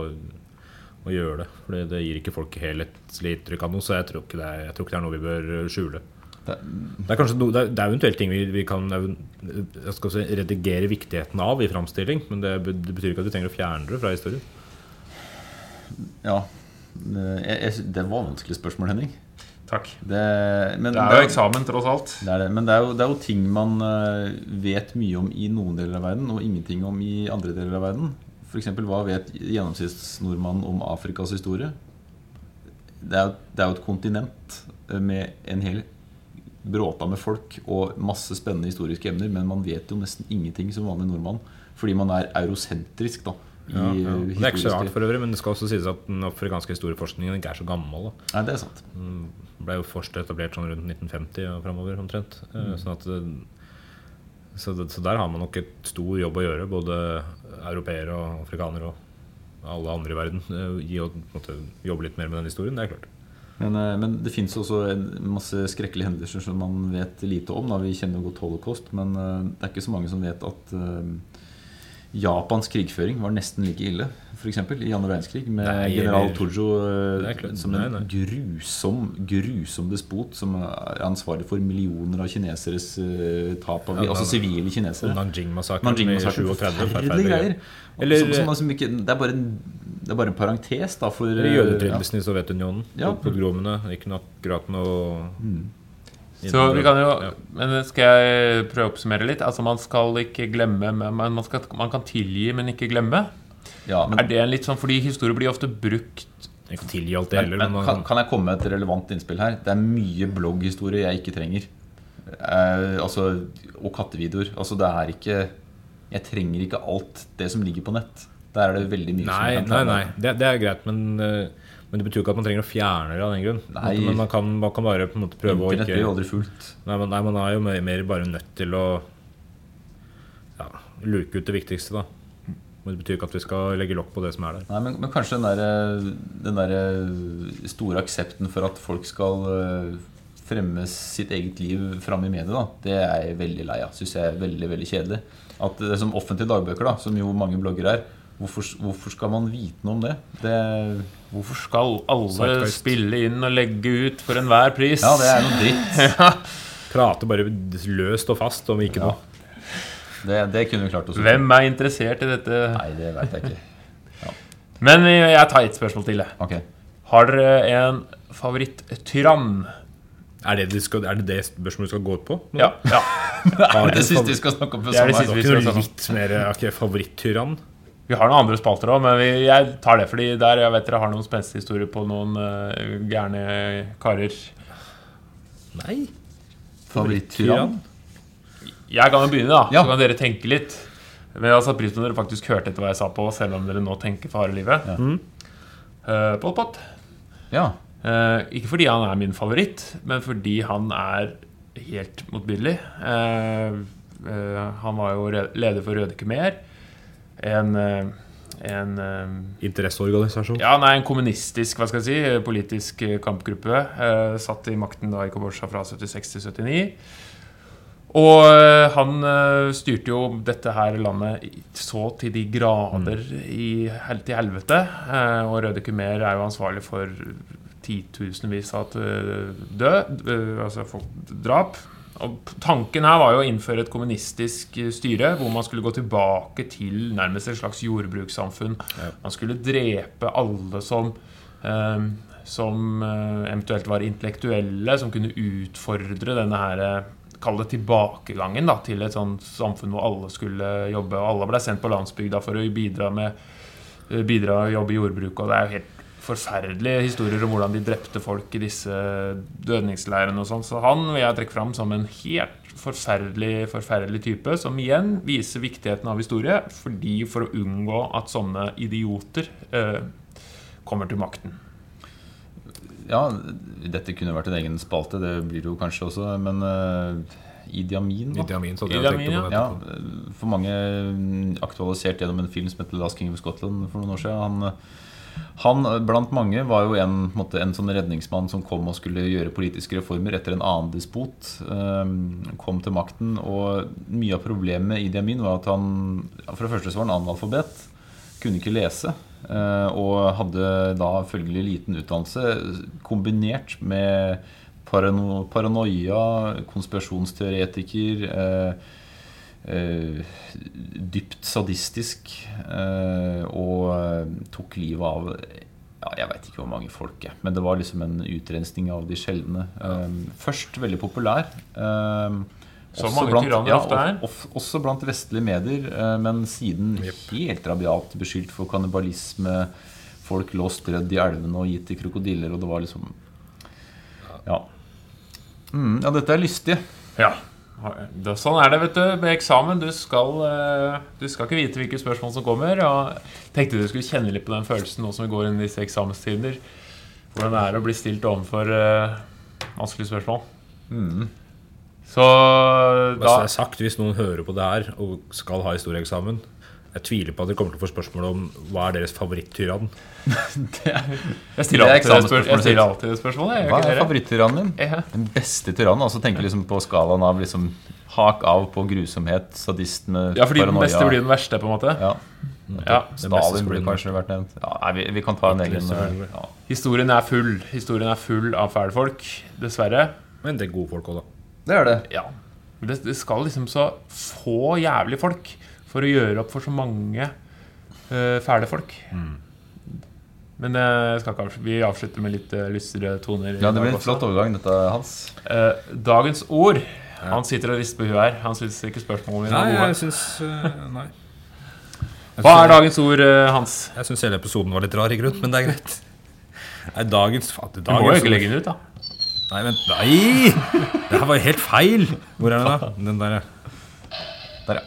å gjøre det. For det, det gir ikke folk helhetlig inntrykk av noe, så jeg tror, ikke det er, jeg tror ikke det er noe vi bør eh, skjule.
Det-
Det er kanskje no, det er, det er eventuelt ting vi, vi kan eh, jeg skal si, redigere viktigheten av i framstilling, men det, be- det betyr ikke at vi trenger å fjerne det fra historien.
Ja. Det- Jeg, jeg, sy- det var vanskelig spørsmål, Henning.
Takk.
Det, men,
Det er jo eksamen, tross alt.
Det er det. Men det er, jo, det er jo ting man eh, vet mye om i noen deler av verden, og ingenting om i andre deler av verden. F.eks. hva vet gjennomsnittsnordmannen om Afrikas historie? Det er, jo- det er jo et kontinent eh, med en hel bråta med folk og masse spennende historiske emner, men man vet jo nesten ingenting som vanlig nordmann. Fordi man er eurosentrisk, da. I
Ja, ja.
eh,
Det er ikke så rart
historiske-
for øvrig, men det skal også sies at den afrikanske historieforskningen ikke er så gammel. Da.
Nei, det er sant.
Den ble jo først etablert sånn rundt 1950 og framover omtrent. Eh,
Mm.
Sånn at, eh, så, det, så der har man nok et stor jobb å gjøre, både europeere og afrikanere og alle andre i verden. eh, I å på en måte, jobbe litt mer med den historien, det er klart.
Men, eh, men det fins også en masse skrekkelige hendelser som man vet lite om. Da. Vi kjenner jo godt holocaust, men eh, det er ikke så mange som vet at eh, Japans krigføring var nesten like ille, f.eks. i andre verdenskrig, med
Nei,
general
eller-
Tojo eh,
Det er klart.
som
Nei,
en
nei.
grusom grusom despot som er ansvarlig for millioner av kineseres eh, tap av
Ja,
altså
nei,
sivile kinesere.
Nanjing-massakren i
Nanjing-massakren.
37.
Forferdelige
forferdelige
greier.
Eller-
som, som, liksom ikke, det, er bare en, det er bare en parentes da, for
Eller
eh, ja.
jødeutryddelsen i Sovjetunionen.
Ja. Mm.
Pogromene. Ikke nok akkurat noe
Så vi kan jo,
Ja.
men Skal jeg prøve å oppsummere litt? Altså Man skal ikke glemme, men man, skal, man kan tilgi, men ikke glemme.
Ja, men,
Er det en litt sånn, Fordi historier blir ofte brukt
Jeg kan tilgi alt det heller, men
Men,
man
kan, kan jeg komme med et relevant innspill her? Det er mye blogghistorie jeg ikke trenger. Eh, altså, og kattevideoer. Altså, det er ikke Jeg trenger ikke alt det som ligger på nett. Der er det veldig mye som
Nei,
jeg kan
nei,
ta
nei.
med.
Det, det er greit, men, eh, men det betyr jo ikke at man trenger å fjerne det av den grunn.
Nei.
Men man kan, man kan bare på en måte prøve å
Internett blir jo
ikke
aldri fullt.
Nei, men, nei, man er jo mer, mer bare nødt til å ja, luke ut det viktigste, da. Men det betyr ikke at vi skal legge lokk på det som er der.
Nei, men, men kanskje den derre den der eh, store aksepten for at folk skal eh, fremme sitt eget liv fram i media, da, det er jeg veldig lei av. Syns jeg er veldig veldig kjedelig. At det er som offentlige dagbøker, da, som jo mange blogger er, hvorfor, hvorfor skal man vite noe om det? det
Hvorfor skal alle
Zeitgeist.
spille inn og legge ut for enhver pris?
ja, det er noe dritt.
Prate bare løst og fast om ikke noe.
Det, det kunne vi klart oss
Hvem er interessert i dette?
Nei, det veit jeg ikke.
Men jeg jeg tar et spørsmål til. jeg.
Ok,
Har dere en favoritt-tyrann?
Er, det det skal, er det det spørsmålet du skal gå på?
Ja, ja.
Har
Det
du
siste vi skal snakke om.
Det er det siste
sommeren.
vi
ikke
skal
noe
snakke om.
litt mer eh, ok, favoritt-tyrann?
Vi har noen andre spalter òg, men vi, jeg tar det fordi der jeg vet dere har noen spenstige historier på noen eh, gærne karer.
Nei.
Favoritt-tyrann?
Jeg kan jo begynne, da.
Ja.
Så kan dere tenke litt. Men jeg har satt pris på om dere faktisk hørte etter hva jeg sa på, selv om dere nå tenker for harde livet.
Ja.
Eh, Pol Pot.
Ja.
Eh, ikke fordi han er min favoritt, men fordi han er helt motbydelig. Eh, eh, han var jo re- leder for Røde Khmer. En, eh, en eh,
Interesseorganisasjon.
Ja, nei, en kommunistisk, hva skal jeg si, politisk eh, kampgruppe. Eh, satt i makten da i Kambodsja fra 76 til 79. Og eh, han eh, styrte jo dette her landet i- så til de grader i, hel- til helvete. Eh, og Røde Khmer er jo ansvarlig for titusenvis av eh, død, eh, altså folk drap. Og p- tanken her var jo å innføre et kommunistisk eh, styre hvor man skulle gå tilbake til nærmest et slags jordbrukssamfunn. Man skulle drepe alle som eh, som eh, eventuelt var intellektuelle, som kunne utfordre denne her eh, Kall det tilbakegangen da, til et sånt samfunn hvor alle skulle jobbe. Og alle ble sendt på landsbygda for å bidra med eh, bidra og jobbe i jordbruket. Og det er jo helt forferdelige historier om hvordan de drepte folk i disse dødningsleirene og sånn. Så han vil jeg trekke fram som en helt forferdelig, forferdelig type, som igjen viser viktigheten av historie, fordi for å unngå at sånne idioter eh, kommer til makten.
Ja, dette kunne vært en egen spalte, det blir det jo kanskje også, men eh, Idi Amin, da?
Idi Amin, så hadde
Idi
jeg tenkt
Amin,
på
Ja,
det.
eh, for mange mm, aktualisert gjennom en film som heter Last King of Scotland for noen år siden. Han, eh, han eh, blant mange var jo en, på en måte, en sånn redningsmann som kom og skulle gjøre politiske reformer etter en annen despot. eh, Kom til makten, og mye av problemet med Idi Amin var at han ja, For det første så var han analfabet. Kunne ikke lese. eh, Og hadde da følgelig liten utdannelse kombinert med parano paranoia, konspirasjonsteoretiker eh, eh, dypt sadistisk eh, og eh, tok livet av ja, Jeg veit ikke hvor mange folk, jeg. Men det var liksom en utrensning av de sjeldne. Eh, først veldig populær. eh,
Som
også
mange tyranner ofte er.
og- of- Også blant vestlige medier, eh, men siden helt rabiat beskyldt for kannibalisme. Folk lå strødd i elvene og gitt til krokodiller, og det var liksom Ja. Mm, ja, dette er lystige.
Ja. Da, sånn er det, vet du. Med eksamen. Du skal, eh, du skal ikke vite hvilke spørsmål som kommer. Og tenkte du skulle kjenne litt på den følelsen nå som vi går inn i disse eksamenstider. Hvordan det er å bli stilt overfor eh, vanskelige spørsmål.
Mm.
Så
Hva
da
er sagt hvis noen hører på det her og skal ha historieeksamen? Jeg tviler på at dere kommer til å få spørsmål om hva er deres favoritt-tyrann.
Jeg stiller
Det
alltid det
er
spør-
eksamensspørsmålet
jeg stiller alltid det spørsmålet. jeg,
Hva
gjør
er
ikke dere?
favoritt-tyrannen din?
Ja.
Den beste tyrannen? Altså tenker liksom på skalaen av liksom hak av på grusomhet, sadisme,
Ja, fordi den beste blir den verste, på en måte.
Ja.
Ja.
Stalin
skolen.
burde kanskje vært nevnt. Ja, nei, vi, vi kan ta en egen eh,
Hitler,
ja.
Historien er full. Historien er full av fæle folk, dessverre.
Men det er gode folk òg, da.
Det er det.
Ja. Men det, det skal liksom så få jævlig folk for å gjøre opp for så mange eh, fæle folk.
Mm.
Men eh, jeg skal ikke avslutte. vi avslutter med litt eh, lystigere toner. i
Ja, det
dag
blir en
også.
flott overgang, dette, Hans.
Eh, dagens ord Han sitter og rister på huet her. Han syns ikke spørsmålene mine er gode.
syns Nei.
Hva er dagens ord, eh, Hans?
Jeg syns hele episoden var litt rar, i grunnen, men det er greit. Nei, dagens fader,
Du må jo
dagens
ikke legge den ut, da.
Nei, vent. Nei! Det her var jo helt feil! Hvor er den, da? Den der, ja.
Der, ja.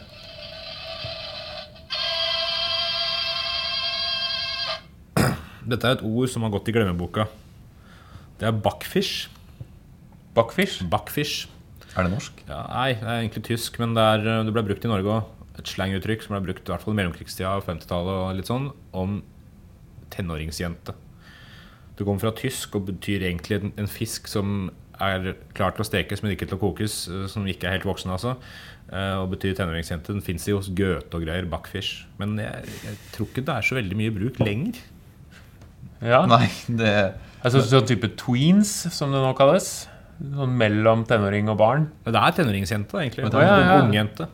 Dette er et ord som har gått i glemmeboka. Det er backfish.
Backfish.
Backfish.
Er det norsk?
Ja, nei, det er egentlig tysk, men det, er, eh, det ble brukt i Norge òg. Et slanguttrykk som ble brukt i hvert fall i mellomkrigstida og 50-tallet og litt sånn, om tenåringsjente. Det kommer fra tysk og betyr egentlig en, en fisk som er klar til å stekes, men ikke til å kokes, eh, som ikke er helt voksen, altså. eh, Og betyr tenåringsjente. Den fins jo hos Goethe og greier, backfish. Men jeg, jeg tror ikke det er så veldig mye bruk lenger.
Ja.
Nei, det
Jeg synes Sånn type tweens, som det nå kalles. Sånn mellom tenåring og barn.
Men det er tenåringsjente, egentlig.
Men
Og
det er
jo en
Ungjente.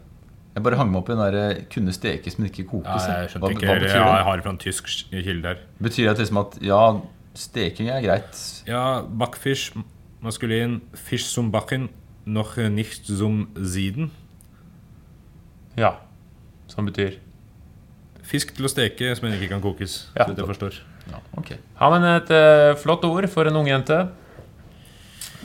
Jeg bare hang meg opp i den der eh, 'kunne stekes, men ikke kokes'.
Ja, jeg skjønte
hva,
ikke
hva
eller,
betyr
ja,
det?
Jeg har det fra en tysk kilde der.
Betyr det liksom at ja, steking er greit,
Ja, Backfish, maskulin. Fish som bakken, noch nicht zum siden.
Ja. Som betyr
Fisk til å steke som ikke kan kokes.
Ja.
Så vidt jeg forstår.
Ja, ok.
Ja, men et eh, flott ord for en ung jente.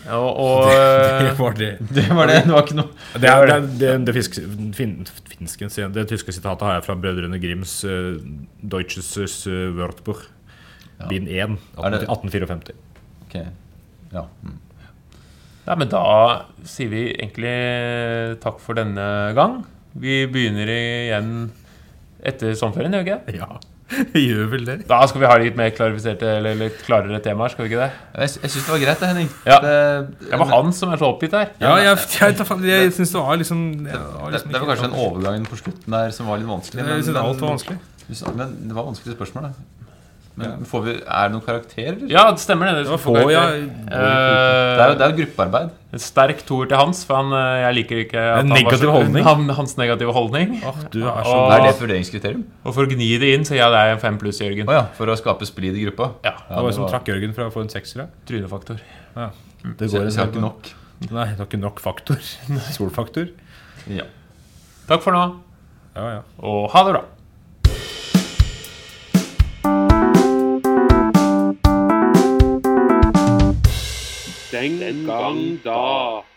Og, og
Det
eh,
var det.
Det var det. Det var ikke noe
Det, er, det, er, det, er- det, fisk, fin, finsken, sier jeg. det tyske sitatet har jeg fra Brødrene Grims eh, Deutsches eh, Wörtbuch, bind 1,
Er det-
1854.
Ok. Ja. mm.
ja, men da sier vi egentlig eh, takk for denne gang. Vi begynner igjen etter sommerferien, gjør vi ikke det?
Ja, gjør vel det.
Da skal vi ha litt mer klarifiserte eller litt klarere temaer, skal vi ikke det?
Jeg, sy- jeg syns det var greit, det, Henning.
Ja.
Det,
Det var han som er så oppgitt her.
Ja, jeg, jeg, jeg, jeg syns det var liksom, det var
det,
liksom
det var kanskje den overgangen på slutten der som var litt vanskelig.
Jeg synes alt var vanskelig.
Du sa- Men det var vanskelige spørsmål, da. Men får vi, er det noen karakterer? eller?
Ja, det stemmer det. Eh,
Det var få, ja.
Det er jo, det er jo gruppearbeid.
En sterk toer til Hans, for han, eh, jeg liker ikke at
En
han var så-
negativ holdning.
Han, hans negative holdning.
Åh, du er så
Åh.
Det er det et vurderingskriterium.
Og for å gni det inn, så ja, det er en fem pluss, Jørgen.
Å ja, for å skape splid i gruppa.
Ja,
Ja,
Det var jo som trakk Jørgen fra å få en sekser. ja.
Trynefaktor.
Det
Så jeg har ikke nok.
Nei, det var ikke nok faktor. Solfaktor.
Ja.
Takk for nå,
Ja, ja.
og ha det bra.
Dengang da.